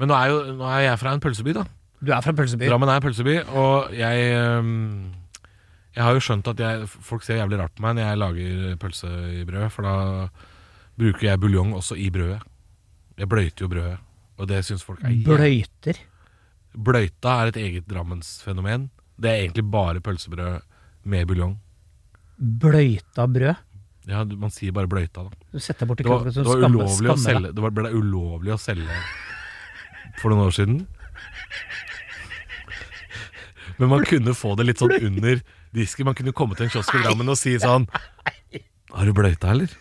Speaker 2: Men nå er jo nå er jeg fra en pølseby, da.
Speaker 4: Du er fra Pølseby?
Speaker 2: Drammen er en pølseby, og jeg øhm, Jeg har jo skjønt at jeg, folk ser jævlig rart på meg når jeg lager pølse i brød, for da bruker jeg buljong også i brødet. Jeg bløyter jo brødet, og det syns folk er jævlig-
Speaker 4: Bløyter?
Speaker 2: Bløyta er et eget drammensfenomen. Det er egentlig bare pølsebrød med buljong.
Speaker 4: Bløyta brød?
Speaker 2: Ja, du- man sier bare bløyta, da.
Speaker 4: Du setter deg bort i
Speaker 2: Det var,
Speaker 4: kroppen
Speaker 2: det
Speaker 4: som
Speaker 2: var
Speaker 4: skammer
Speaker 2: ulovlig å
Speaker 4: skammer deg.
Speaker 2: selge Det var, ble ulovlig å selge for noen år siden. Men man kunne få det litt sånn under disken. Man kunne komme til en kiosk i Drammen og si sånn Har du bløyta, eller?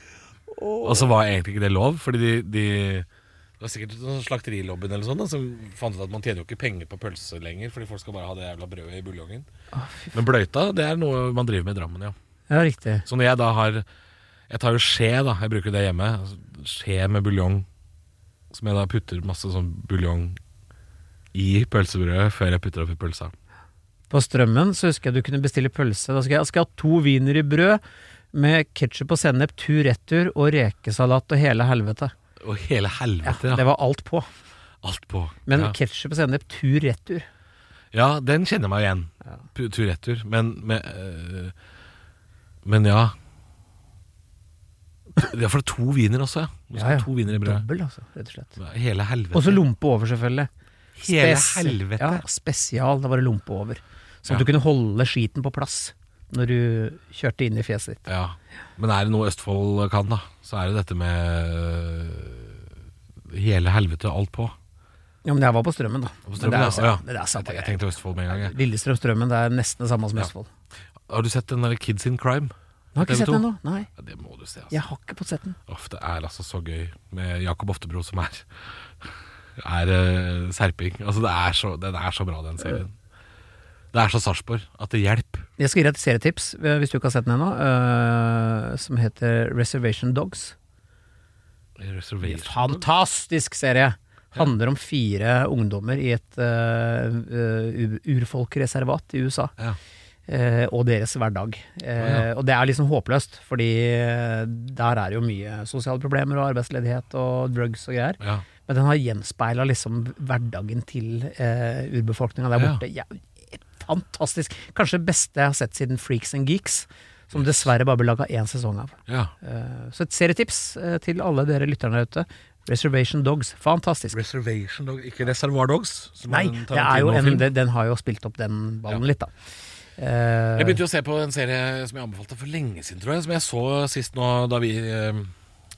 Speaker 2: Og så var egentlig ikke det lov, fordi de, de det var sikkert sånn Slakterilobbyen eller sånn da, som fant ut at man tjener jo ikke penger på pølse lenger, fordi folk skal bare ha det jævla brødet i buljongen. Men bløyta, det er noe man driver med i Drammen, ja.
Speaker 4: Ja, riktig.
Speaker 2: Så når jeg da har Jeg tar jo skje, da. Jeg bruker det hjemme. altså, Skje med buljong. Som jeg da putter masse sånn buljong i pølsebrødet før jeg putter oppi pølsa.
Speaker 4: På Strømmen så husker jeg du kunne bestille pølse. Da skal jeg, skal jeg ha to wiener i brød med ketsjup og sennep tur-retur og rekesalat og hele helvete.
Speaker 2: Og hele
Speaker 4: Ja,
Speaker 2: helvete, ja.
Speaker 4: det var alt på.
Speaker 2: Alt på.
Speaker 4: Men
Speaker 2: ja.
Speaker 4: ketsjup og sennep tur-retur
Speaker 2: ja, den kjenner jeg meg igjen. Pu- Tur-retur. Men, men, øh, men ja. Ja, for det er to viner også, ja. Du skal
Speaker 4: Ja, ja.
Speaker 2: ha To viner i brød.
Speaker 4: Dobbel, altså, rett og slett.
Speaker 2: Hele helvete.
Speaker 4: Og så lompe over, selvfølgelig.
Speaker 2: hele
Speaker 4: Spes-
Speaker 2: helvete.
Speaker 4: Ja, spesial. Da var det lompe over. Sånn at
Speaker 2: Ja.
Speaker 4: du kunne holde skiten på plass når du kjørte inn i fjeset ditt.
Speaker 2: Ja, Men er det noe Østfold kan, da, så er det dette med øh, hele helvete og alt på.
Speaker 4: Ja, men det her var på Strømmen, da.
Speaker 2: På
Speaker 4: men det
Speaker 2: Strømmen, ja.
Speaker 4: er, jo-
Speaker 2: Å, ja.
Speaker 4: det er samme
Speaker 2: Jeg
Speaker 4: greie.
Speaker 2: tenkte Østfold med en gang. jeg.
Speaker 4: Lillestrøm Strømmen, det er nesten det samme som
Speaker 2: Ja.
Speaker 4: Østfold.
Speaker 2: Har du sett den der Kids in Crime?
Speaker 4: Jeg har ikke
Speaker 2: TV2?
Speaker 4: sett den ennå. Nei,
Speaker 2: Ja, det må du se. Altså.
Speaker 4: jeg har ikke fått sett den.
Speaker 2: Uff, det er altså så gøy med Jakob Oftebro som er Er øh, serping. Altså, det er så, den er så bra, den serien. Det er så Sarpsborg at det hjelper.
Speaker 4: Jeg skal gi deg et serietips, eh, hvis du ikke har sett den ennå, eh, som heter Reservation Dogs.
Speaker 2: Reservation.
Speaker 4: Fantastisk serie! Handler om fire ungdommer i et eh, eh, u- urfolkreservat i USA.
Speaker 2: Ja.
Speaker 4: eh, og deres hverdag. Eh, Og det er liksom håpløst, fordi eh, der er jo mye sosiale problemer og arbeidsledighet og drugs og greier.
Speaker 2: Ja.
Speaker 4: Men den har gjenspeila liksom hverdagen til eh, urbefolkninga der
Speaker 2: Ja.
Speaker 4: borte. Ja. fantastisk! Kanskje det beste jeg har sett siden Freaks and Geeks, som dessverre bare ble laga én sesong av.
Speaker 2: ja.
Speaker 4: Eh, så et serietips eh, til alle dere lytterne der ute. Reservation Dogs, fantastisk.
Speaker 2: Reservation Dogs, ikke Reservoir Dogs. som
Speaker 4: Nei,
Speaker 2: en
Speaker 4: det er jo en,
Speaker 2: Tarantino-film.
Speaker 4: den, den har jo spilt opp den ballen litt, da. Eh,
Speaker 2: Jeg begynte jo å se på en serie som jeg anbefalte for lenge siden, tror jeg. Som jeg så sist nå da vi eh,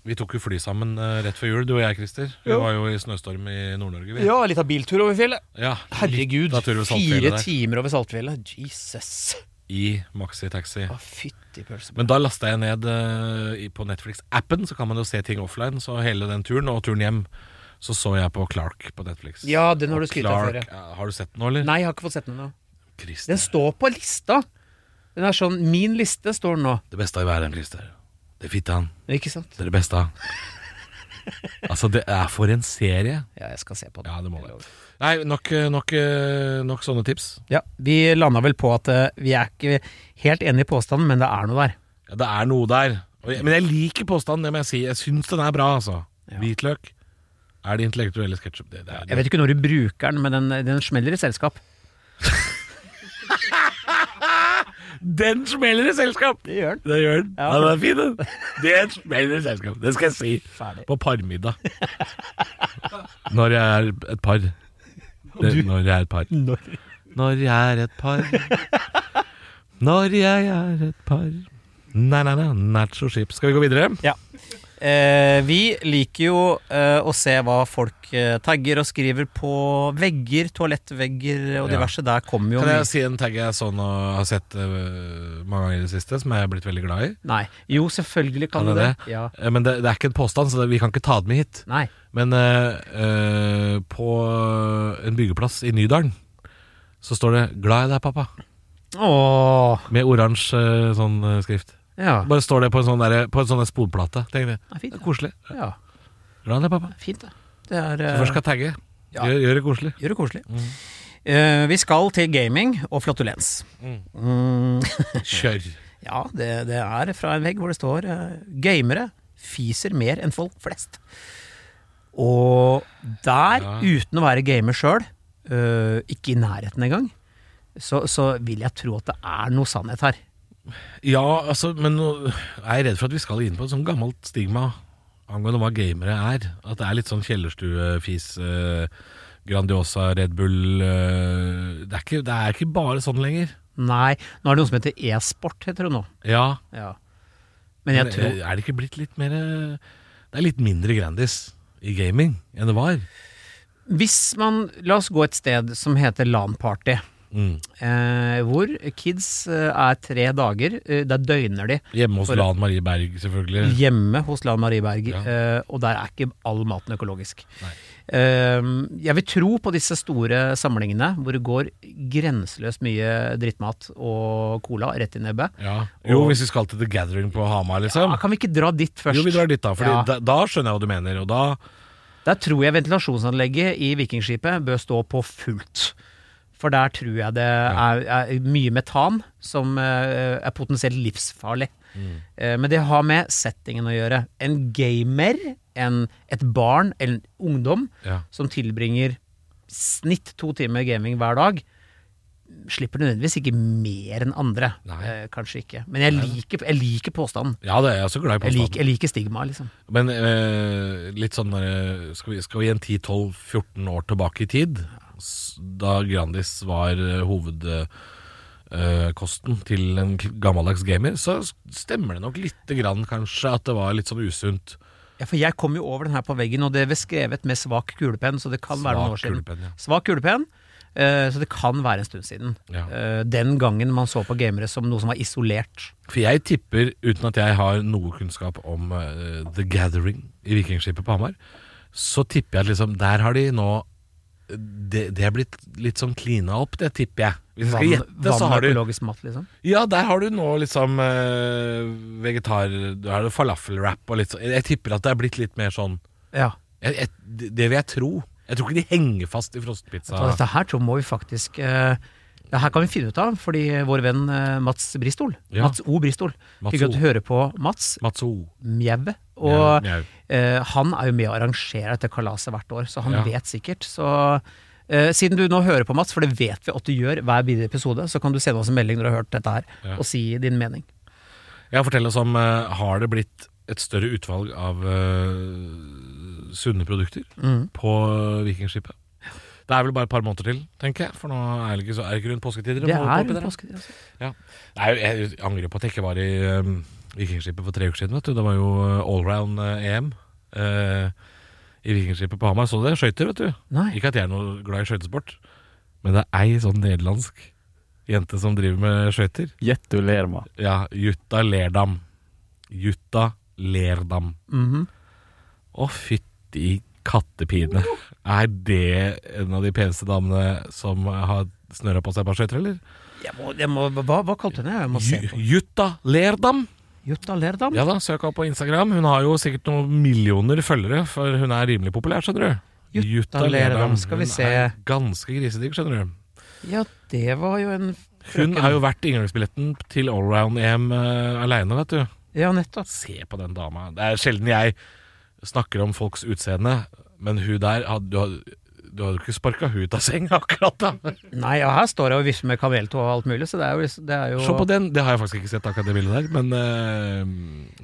Speaker 2: Vi tok jo fly sammen eh, rett før jul, du og jeg, Christer. Vi
Speaker 5: Jo.
Speaker 2: var jo i snøstorm i Nord-Norge, vi.
Speaker 5: Ja, litt av biltur over fjellet.
Speaker 2: Ja,
Speaker 5: Herregud.
Speaker 2: litt av tur ved saltfjellet
Speaker 5: Fire
Speaker 2: der.
Speaker 5: timer over Saltfjellet. Jesus.
Speaker 2: I maxitaxi.
Speaker 5: Å, fytti pølse.
Speaker 2: Men da lasta jeg ned eh, i- på Netflix-appen, så kan man jo se ting offline. Så hele den turen, og turen hjem, så så jeg på Clark på Netflix.
Speaker 5: Ja, den har
Speaker 2: Og
Speaker 5: du skrytt av før.
Speaker 2: Clark,
Speaker 5: ja.
Speaker 2: ja, Har du sett den nå, eller?
Speaker 5: Nei, jeg har ikke fått sett den ennå.
Speaker 2: Christer.
Speaker 5: Den står på lista. Den er sånn Min liste står den nå.
Speaker 2: Det beste av verden, Christer. Det er fitte han.
Speaker 5: Ikke sant?
Speaker 2: Det er det beste. altså, det er for en serie.
Speaker 5: Ja, jeg skal se på den.
Speaker 2: Ja, det må det. Nei, nok, eh, nok, eh, nok sånne tips.
Speaker 4: ja, vi landa vel på at eh, vi er ikke helt enig i påstanden, men det er noe der.
Speaker 2: Ja, det er noe der. Og jeg, men jeg liker påstanden, det må jeg si. Jeg syns den er bra, altså. Hvitløk er det intellektuelle ketsjup. Det, det er
Speaker 4: Jeg vet ikke når du bruker den, men den, den smeller i selskap.
Speaker 2: Den smeller i selskap! Det gjør den. Det gjør den. Ja. den er fin, den. Den smeller i selskap. Det skal jeg si. På parmiddag. Når jeg er et par. Det, når jeg er et par. Når. jeg er et par. Når jeg er et par. Nei, nei, nei. Nacho chips. Skal vi gå videre?
Speaker 4: Eh, vi liker jo eh, å se hva folk eh, tagger og skriver på vegger, toalettvegger og
Speaker 2: Ja.
Speaker 4: diverse. Der kommer jo
Speaker 2: Kan
Speaker 4: mye
Speaker 2: jeg si en tag jeg så nå har sett øh, mange ganger i det siste, som jeg er blitt veldig glad i?
Speaker 4: Nei. Jo, selvfølgelig kan,
Speaker 2: Kan
Speaker 4: du det.
Speaker 2: jeg
Speaker 4: Ja.
Speaker 2: Eh, Men det, det er ikke en påstand, så det, vi kan ikke ta det med hit.
Speaker 4: Nei.
Speaker 2: Men eh, eh, på en byggeplass i Nydalen så står det 'Glad i deg, pappa',
Speaker 4: Åh,
Speaker 2: med oransje eh, sånn eh, skrift.
Speaker 4: ja.
Speaker 2: Bare står det på en sånn, derre- på en sånn der spolplate. Tenk det.
Speaker 4: Ja, fint,
Speaker 2: det er
Speaker 4: ja.
Speaker 2: koselig.
Speaker 4: ja.
Speaker 2: Glad i deg, pappa.
Speaker 4: Fint, da. Det er
Speaker 2: Du
Speaker 4: eh,
Speaker 2: først skal Mm. tagge.
Speaker 4: ja.
Speaker 2: Gjør, gjør det koselig.
Speaker 4: Gjør det koselig. Eh, vi skal til gaming og flatulens. Mm.
Speaker 2: Kjør.
Speaker 4: Ja, det, det er fra en vegg hvor det står eh, 'Gamere fiser mer enn folk flest'. Og der,
Speaker 2: Ja.
Speaker 4: uten å være gamer sjøl, ikke i nærheten engang, så, så vil jeg tro at det er noe sannhet her.
Speaker 2: Ja, altså, men nå er jeg redd for at vi skal inn på et sånt gammelt stigma angående hva gamere er. At det er litt sånn kjellerstuefis. eh, Grandiosa, Red Bull eh, det, er ikke, det er ikke bare sånn lenger.
Speaker 4: Nei, nå er det noe som heter e-sport, heter det nå.
Speaker 2: Ja,
Speaker 4: Ja. Men jeg
Speaker 2: Men,
Speaker 4: tror
Speaker 2: eh, Er det ikke blitt litt mer eh, Det er litt mindre Grandis i gaming enn det var.
Speaker 4: Hvis man La oss gå et sted som heter LAN-party.
Speaker 2: Mm.
Speaker 4: Eh, hvor kids eh, er tre dager. Eh, der døgner de.
Speaker 2: Hjemme hos
Speaker 4: For-
Speaker 2: Lan Marie Berg, selvfølgelig.
Speaker 4: Hjemme hos Lan Marie Berg.
Speaker 2: Ja.
Speaker 4: Eh, og der er ikke all maten økologisk.
Speaker 2: Nei.
Speaker 4: Eh, jeg vil tro på disse store samlingene hvor det går grenseløst mye drittmat og cola rett i nebbet.
Speaker 2: Ja. Jo, hvis vi skal til The Gathering på Hamar, liksom.
Speaker 4: Ja, kan vi ikke dra dit først?
Speaker 2: jo, vi drar dit, da. Fordi
Speaker 4: Ja.
Speaker 2: da, da skjønner jeg hva du mener. Og da
Speaker 4: Der tror jeg ventilasjonsanlegget i Vikingskipet bør stå på fullt. For der tror jeg det er, er mye metan som eh, er potensielt livsfarlig.
Speaker 2: Mm.
Speaker 4: Eh, men det har med settingen å gjøre. En gamer, en, et barn eller en ungdom
Speaker 2: Ja.
Speaker 4: som tilbringer snitt to timer gaming hver dag, slipper nødvendigvis ikke mer enn andre.
Speaker 2: Nei.
Speaker 4: Eh, kanskje ikke. Men jeg liker, jeg liker påstanden.
Speaker 2: Ja, det er jeg også glad i
Speaker 4: Jeg
Speaker 2: påstanden.
Speaker 4: liker, jeg liker stigmaet, liksom.
Speaker 2: Men eh, litt sånn eh, skal, vi, skal vi en 10-12-14 år tilbake i tid, s- da Grandis var eh, hovedkosten til en k- gammeldags gamer, så s- stemmer det nok lite grann kanskje at det var litt sånn usunt.
Speaker 4: Ja, for jeg kom jo over den her på veggen, og det er skrevet med svak kulepenn, så det kan være noen år siden.
Speaker 2: kulepenn, ja.
Speaker 4: Svak kulepenn, eh, så det kan være en stund siden.
Speaker 2: Ja.
Speaker 4: Eh, Den gangen man så på gamere som noe som var isolert.
Speaker 2: For jeg tipper, uten at jeg har noe kunnskap om eh, The Gathering i Vikingskipet på Hamar, så tipper jeg at liksom, der har de nå eh, det, det er blitt litt sånn klina opp, det tipper jeg. Hvis jeg skal gjette, så
Speaker 4: vann
Speaker 2: har
Speaker 4: og
Speaker 2: du
Speaker 4: økologisk mat, liksom.
Speaker 2: Ja, der har du nå liksom eh, vegetar... Du har det falafelwrap og litt sånn. Jeg tipper at det er blitt litt mer sånn
Speaker 4: Ja.
Speaker 2: jeg, jeg, Det det vil jeg tro. Jeg tror ikke de henger fast i frostpizza.
Speaker 4: Og dette her tror jeg må vi faktisk eh, Det her kan vi finne ut av, fordi vår venn eh, Mats Bristol,
Speaker 2: Ja.
Speaker 4: Mats O. Bristol,
Speaker 2: Mats
Speaker 4: fikk jo
Speaker 2: O.
Speaker 4: høre på Mats
Speaker 2: Mats O.
Speaker 4: Mjau. Og
Speaker 2: Mjau, mjau.
Speaker 4: eh, han er jo med og arrangerer dette kalaset hvert år, så han
Speaker 2: Ja.
Speaker 4: vet sikkert. Så eh, siden du nå hører på, Mats, for det vet vi at du gjør hver bidige episode, så kan du sende oss en melding når du har hørt dette her,
Speaker 2: Ja.
Speaker 4: og si din mening.
Speaker 2: Ja, fortell oss om eh, Har det blitt et større utvalg
Speaker 4: Mm.
Speaker 2: av eh, sunne produkter på Vikingskipet? Det er vel bare et par måneder til, tenker jeg. For nå er det ikke, så, er det ikke rundt påsketider.
Speaker 4: Det
Speaker 2: må holde på oppi
Speaker 4: er
Speaker 2: der, da.
Speaker 4: påsketider. Altså.
Speaker 2: Nei, jeg angrer på at jeg ikke var i um, Vikingskipet for tre uker siden. Vet du. Det var jo eh, allround eh, EM eh, i Vikingskipet på Hamar. Så dere skøyter, vet du?
Speaker 4: Nei.
Speaker 2: Ikke at jeg er noe glad i skøytesport, men det er ei sånn nederlandsk jente som driver med skøyter.
Speaker 3: Gjett du ler meg.
Speaker 2: Ja, Jutta Lerdam. Jutta Lerdam.
Speaker 4: Mhm.
Speaker 2: Å, fytti kattepine. Er det en av de peneste damene som har snørra på seg et par skøyter, eller?
Speaker 4: jeg må, jeg må, hva, hva kalte du henne? Jeg må se
Speaker 2: Ju-
Speaker 4: på
Speaker 2: Jutta Lerdam.
Speaker 4: Jutta Lerdam?
Speaker 2: Ja da, søk opp på Instagram. Hun har jo sikkert noen millioner følgere, for hun er rimelig populær, skjønner du.
Speaker 4: Jutta Lerdam, skal vi
Speaker 2: Hun
Speaker 4: se.
Speaker 2: er ganske grisedigg, skjønner du.
Speaker 4: Ja, det var jo en
Speaker 2: Hun
Speaker 4: frøken.
Speaker 2: har jo vært inngangsbilletten til allround-EM uh, aleine, vet du.
Speaker 4: Ja, nettopp.
Speaker 2: Se på den dama. Det er sjelden jeg snakker om folks utseende, men hun der had- Du had- du hadde jo ikke sparka hun ut av senga akkurat, da.
Speaker 4: Nei, ja, her står jeg og vifter med kameltå og alt mulig, så det er jo, det er jo
Speaker 2: Se på den. Det har jeg faktisk ikke sett, akkurat det bildet der. Men eh,
Speaker 4: Men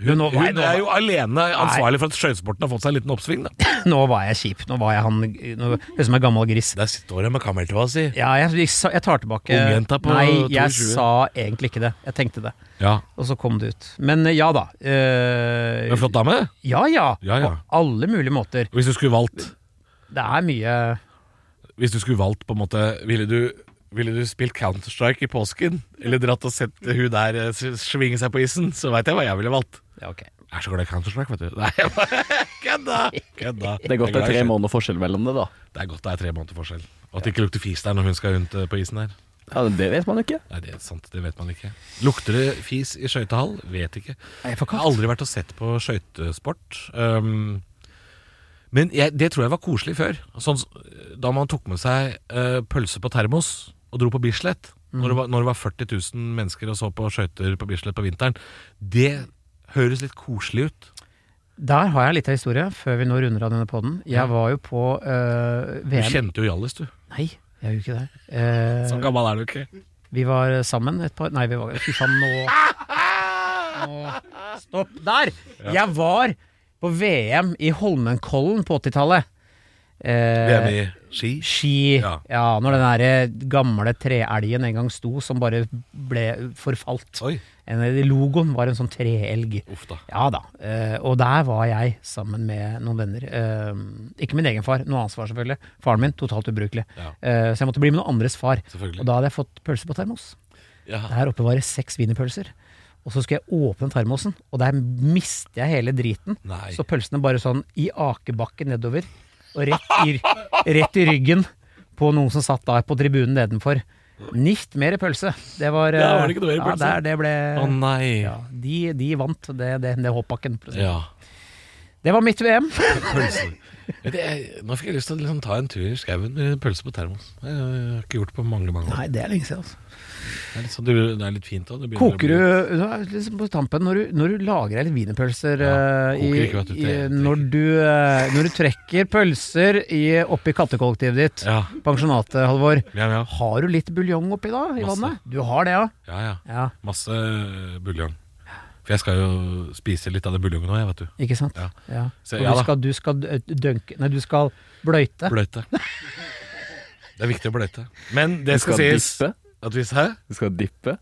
Speaker 2: hun,
Speaker 4: nå- nei,
Speaker 2: hun
Speaker 4: nå-
Speaker 2: er jo alene ansvarlig for at skøytesporten har fått seg en liten oppsving, da.
Speaker 4: Nå var jeg kjip. Nå var jeg han Nå høres ut som en gammel gris.
Speaker 2: Der står hun med kammertåa si.
Speaker 4: Ja, jeg, jeg, sa- jeg tar tilbake
Speaker 2: Ungjenta på
Speaker 4: Nei, jeg
Speaker 2: 22.
Speaker 4: sa egentlig ikke det. Jeg tenkte det,
Speaker 2: Ja,
Speaker 4: og så kom det ut. Men eh, ja da. eh,
Speaker 2: En flott dame.
Speaker 4: ja, ja
Speaker 2: Ja, ja.
Speaker 4: På alle mulige måter.
Speaker 2: Hvis du skulle valgt,
Speaker 4: Det er mye
Speaker 2: hvis du skulle valgt på en måte Ville du, ville du spilt Counter-Strike i påsken? Eller dratt og sett hun der eh, s- svinge seg på isen? Så veit jeg hva jeg ville valgt.
Speaker 4: Ja, ok.
Speaker 2: Jeg er så glad i Counter-Strike, vet du. Nei, jeg bare kødda! kødda.
Speaker 3: Det er godt
Speaker 2: Jeg
Speaker 3: det er tre
Speaker 2: glad i skjøt.
Speaker 3: måneder forskjell mellom det, da.
Speaker 2: Det er godt det er tre måneder forskjell. Og at det ikke lukter fis der når hun skal rundt eh, på isen der.
Speaker 3: Ja, Det vet man ikke.
Speaker 2: Nei, det er sant, det vet man ikke. Lukter det fis i skøytehall? Vet ikke.
Speaker 4: Nei,
Speaker 2: Jeg har aldri vært og sett på skøytesport. Um, men jeg, det tror jeg var koselig før. Sånn, s- da man tok med seg eh, pølse på termos og dro på Bislett. Når, det var, når det var 40 000 mennesker og så på skøyter på Bislett på vinteren. Det høres litt koselig ut.
Speaker 4: Der har jeg litt av historie, før vi nå runder av denne poden. Jeg var jo på eh,
Speaker 2: Du
Speaker 4: VM
Speaker 2: kjente jo Hjallis, du.
Speaker 4: Nei, jeg gjorde ikke det. Eh,
Speaker 2: Så gammel er du ikke.
Speaker 4: vi var sammen et par Nei, vi var Fy faen, nå, nå Stopp der! Jeg var på VM i Holmenkollen på 80-tallet. Eh,
Speaker 2: VM i ski.
Speaker 4: Ski ja.
Speaker 2: Ja.
Speaker 4: når den der eh, gamle treelgen en gang sto, som bare ble forfalt.
Speaker 2: Oi,
Speaker 4: En, logoen var en sånn treelg.
Speaker 2: uff da.
Speaker 4: Ja da. eh, og der var jeg sammen med noen venner. Eh, ikke min egen far, noen annens far selvfølgelig. Faren min totalt ubrukelig.
Speaker 2: Ja.
Speaker 4: Eh, så jeg måtte bli med noen andres far. Og
Speaker 2: Selvfølgelig.
Speaker 4: da hadde jeg fått pølse på termos.
Speaker 2: Ja.
Speaker 4: Der oppe var det seks wienerpølser. Og så skulle jeg åpne termosen, og der mister jeg hele driten.
Speaker 2: Nei.
Speaker 4: Så pølsene bare sånn i akebakke nedover, og rett i, rett i ryggen på noen som satt da på tribunen nedenfor. Nicht mer pølse. Det var, eh,
Speaker 2: Der var det ikke noe mer pølse.
Speaker 4: Ja, der det ble
Speaker 2: Å nei.
Speaker 4: eh, ja, de, de vant det, det, det hoppbakken. for å si det
Speaker 2: Ja.
Speaker 4: det var mitt VM.
Speaker 2: Pølse. Vet du, jeg, nå fikk jeg lyst til å liksom ta en tur i skauen med pølse på termos. Det har jeg ikke gjort på mange mange år.
Speaker 4: Nei, det er lenge siden. Altså.
Speaker 2: Det er litt, sånn, det det er litt fint òg.
Speaker 4: Koker du nå er det liksom på tampen når du, når du lager deg litt wienerpølser
Speaker 2: Ja,
Speaker 4: eh,
Speaker 2: koker
Speaker 4: i-
Speaker 2: ikke, vet du,
Speaker 4: i-
Speaker 2: trekker.
Speaker 4: når, du, eh, når du trekker pølser i, oppi kattekollektivet ditt,
Speaker 2: Ja.
Speaker 4: pensjonatet, Halvor,
Speaker 2: Ja, ja.
Speaker 4: har du litt buljong oppi da i
Speaker 2: Masse.
Speaker 4: vannet? Du har det, ja?
Speaker 2: ja, ja.
Speaker 4: Ja,
Speaker 2: Masse eh, buljong. For jeg skal jo spise litt av det buljongen nå, jeg, vet du.
Speaker 4: Ikke sant?
Speaker 2: Ja.
Speaker 4: Ja.
Speaker 2: Så,
Speaker 4: Og
Speaker 2: ja
Speaker 4: du
Speaker 2: da.
Speaker 4: skal, du skal d- dønke Nei, du skal bløyte.
Speaker 2: Bløyte. Det er viktig å bløyte. Men det
Speaker 3: Du
Speaker 2: skal,
Speaker 3: skal
Speaker 2: sies
Speaker 3: dippe.
Speaker 2: at hvis Hæ?
Speaker 3: Du skal dippe.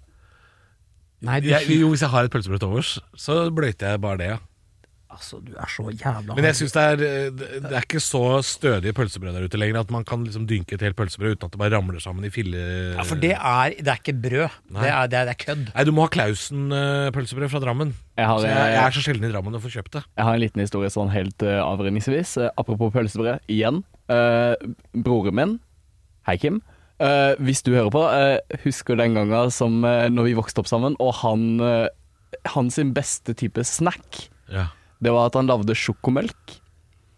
Speaker 4: Nei, du,
Speaker 2: Jeg, jo, hvis jeg har et pølsebrød til overs, så bløyter jeg bare det, ja.
Speaker 4: altså, du er så jævla
Speaker 2: Men jeg synes det er eh, Det det er ikke så stødige pølsebrød der ute lenger at man kan liksom dynke et helt pølsebrød uten at det bare ramler sammen i fille...
Speaker 4: ja, For det er, det er ikke brød. Det er, det, er, det er kødd.
Speaker 2: Nei, du må ha Klausen-pølsebrød fra Drammen.
Speaker 3: Jeg har,
Speaker 2: Så jeg, jeg
Speaker 3: jeg,
Speaker 2: er så sjelden i Drammen og får kjøpt det.
Speaker 3: har en liten historie sånn helt eh, avredningsvis. Eh, apropos pølsebrød, igjen. Eh, broren min, hei Kim. Eh, hvis du hører på, eh, husker den gangen som eh, når vi vokste opp sammen, og han, eh, han sin beste type snack,
Speaker 2: Ja.
Speaker 3: det var at han lagde sjokomelk.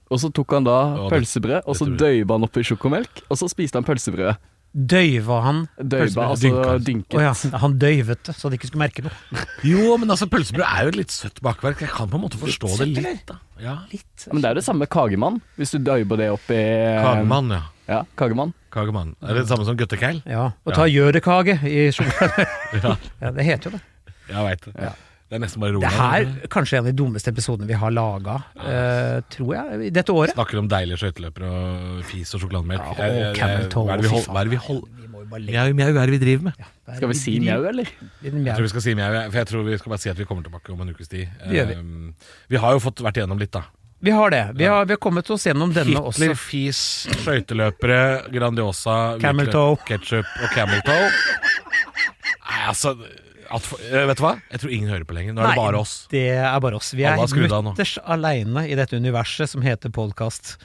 Speaker 3: Og så tok han da
Speaker 2: Ja, det-
Speaker 3: pølsebrød, og så
Speaker 2: tror
Speaker 3: døyva han oppi sjokomelk, og så spiste han pølsebrødet.
Speaker 4: Døyva han
Speaker 3: Døyva, altså
Speaker 2: Dynka.
Speaker 3: dynket.
Speaker 4: Å ja, han døyvet det, så de ikke skulle merke noe.
Speaker 2: Jo, men altså, pølsebrød er jo et litt søtt bakverk. Jeg kan på en måte forstå det litt, da. Ja.
Speaker 3: Men det er jo det samme kagemann, hvis du døyver det oppi
Speaker 2: Kagemann, ja.
Speaker 3: Ja, kagemann.
Speaker 2: Kagemann. Er det det samme som guttekeil?
Speaker 4: Ja, Og ta gjørekake i sjokolade. ja, det heter jo det.
Speaker 2: Jeg veit det. Det er nesten bare rolig.
Speaker 4: Det her kanskje en av de dummeste episodene vi har laga, eh, tror jeg, i dette året.
Speaker 2: Snakker om deilige skøyteløpere og fis og sjokolademelk.
Speaker 4: Ja, og
Speaker 2: Jeg- jeg-
Speaker 4: Camel Toe,
Speaker 2: Hva er det vi
Speaker 4: fy
Speaker 2: hold-
Speaker 4: faen.
Speaker 2: hva er det vi holder
Speaker 4: Vi må jo bare legge
Speaker 2: Mjau, mjau, hva er det vi driver med?
Speaker 3: Skal vi si mjau, eller?
Speaker 2: Jeg tror vi skal si mjau, jeg- for jeg tror vi skal bare si at vi kommer tilbake om en ukes tid.
Speaker 4: Det gjør vi.
Speaker 2: Ehm, vi har jo fått vært igjennom litt, da.
Speaker 4: Vi har det. Vi har, vi har kommet oss gjennom denne
Speaker 2: Hitler,
Speaker 4: også.
Speaker 2: fis, skøyteløpere, Grandiosa,
Speaker 4: Camel Toe.
Speaker 2: ketsjup og Camel Toe. Nei, altså at, for- eh, Vet du hva? Jeg tror ingen hører på lenger. Nå er det bare oss.
Speaker 4: Det er bare oss. Vi er
Speaker 2: Alle har skrudd av nå.
Speaker 4: mutters aleine i dette universet som heter podkast.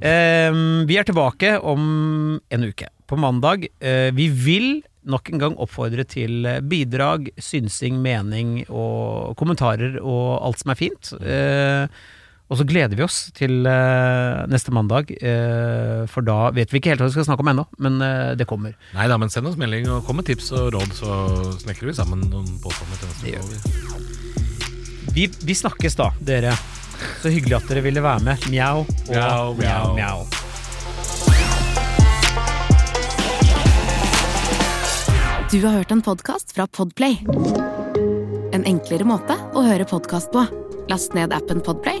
Speaker 4: Ehm, vi er tilbake om en uke, på mandag. Eh, vi vil nok en gang oppfordre til bidrag, synsing, mening og kommentarer og alt som er fint. Eh, og så gleder vi oss til eh, neste mandag, eh, for da vet vi ikke helt hva vi skal snakke om ennå, men eh, det kommer.
Speaker 2: Nei da, men send oss melding og kom med tips og råd, så snekrer vi sammen noen påstander til neste
Speaker 4: Det gjør
Speaker 2: uke.
Speaker 4: Vi, vi snakkes da, dere. Så hyggelig at dere ville være med. Mjau og
Speaker 2: Mjau, mjau.
Speaker 4: mjau.
Speaker 6: Du har hørt en podcast fra Podplay En enklere måte å høre podcast på Last ned appen Podplay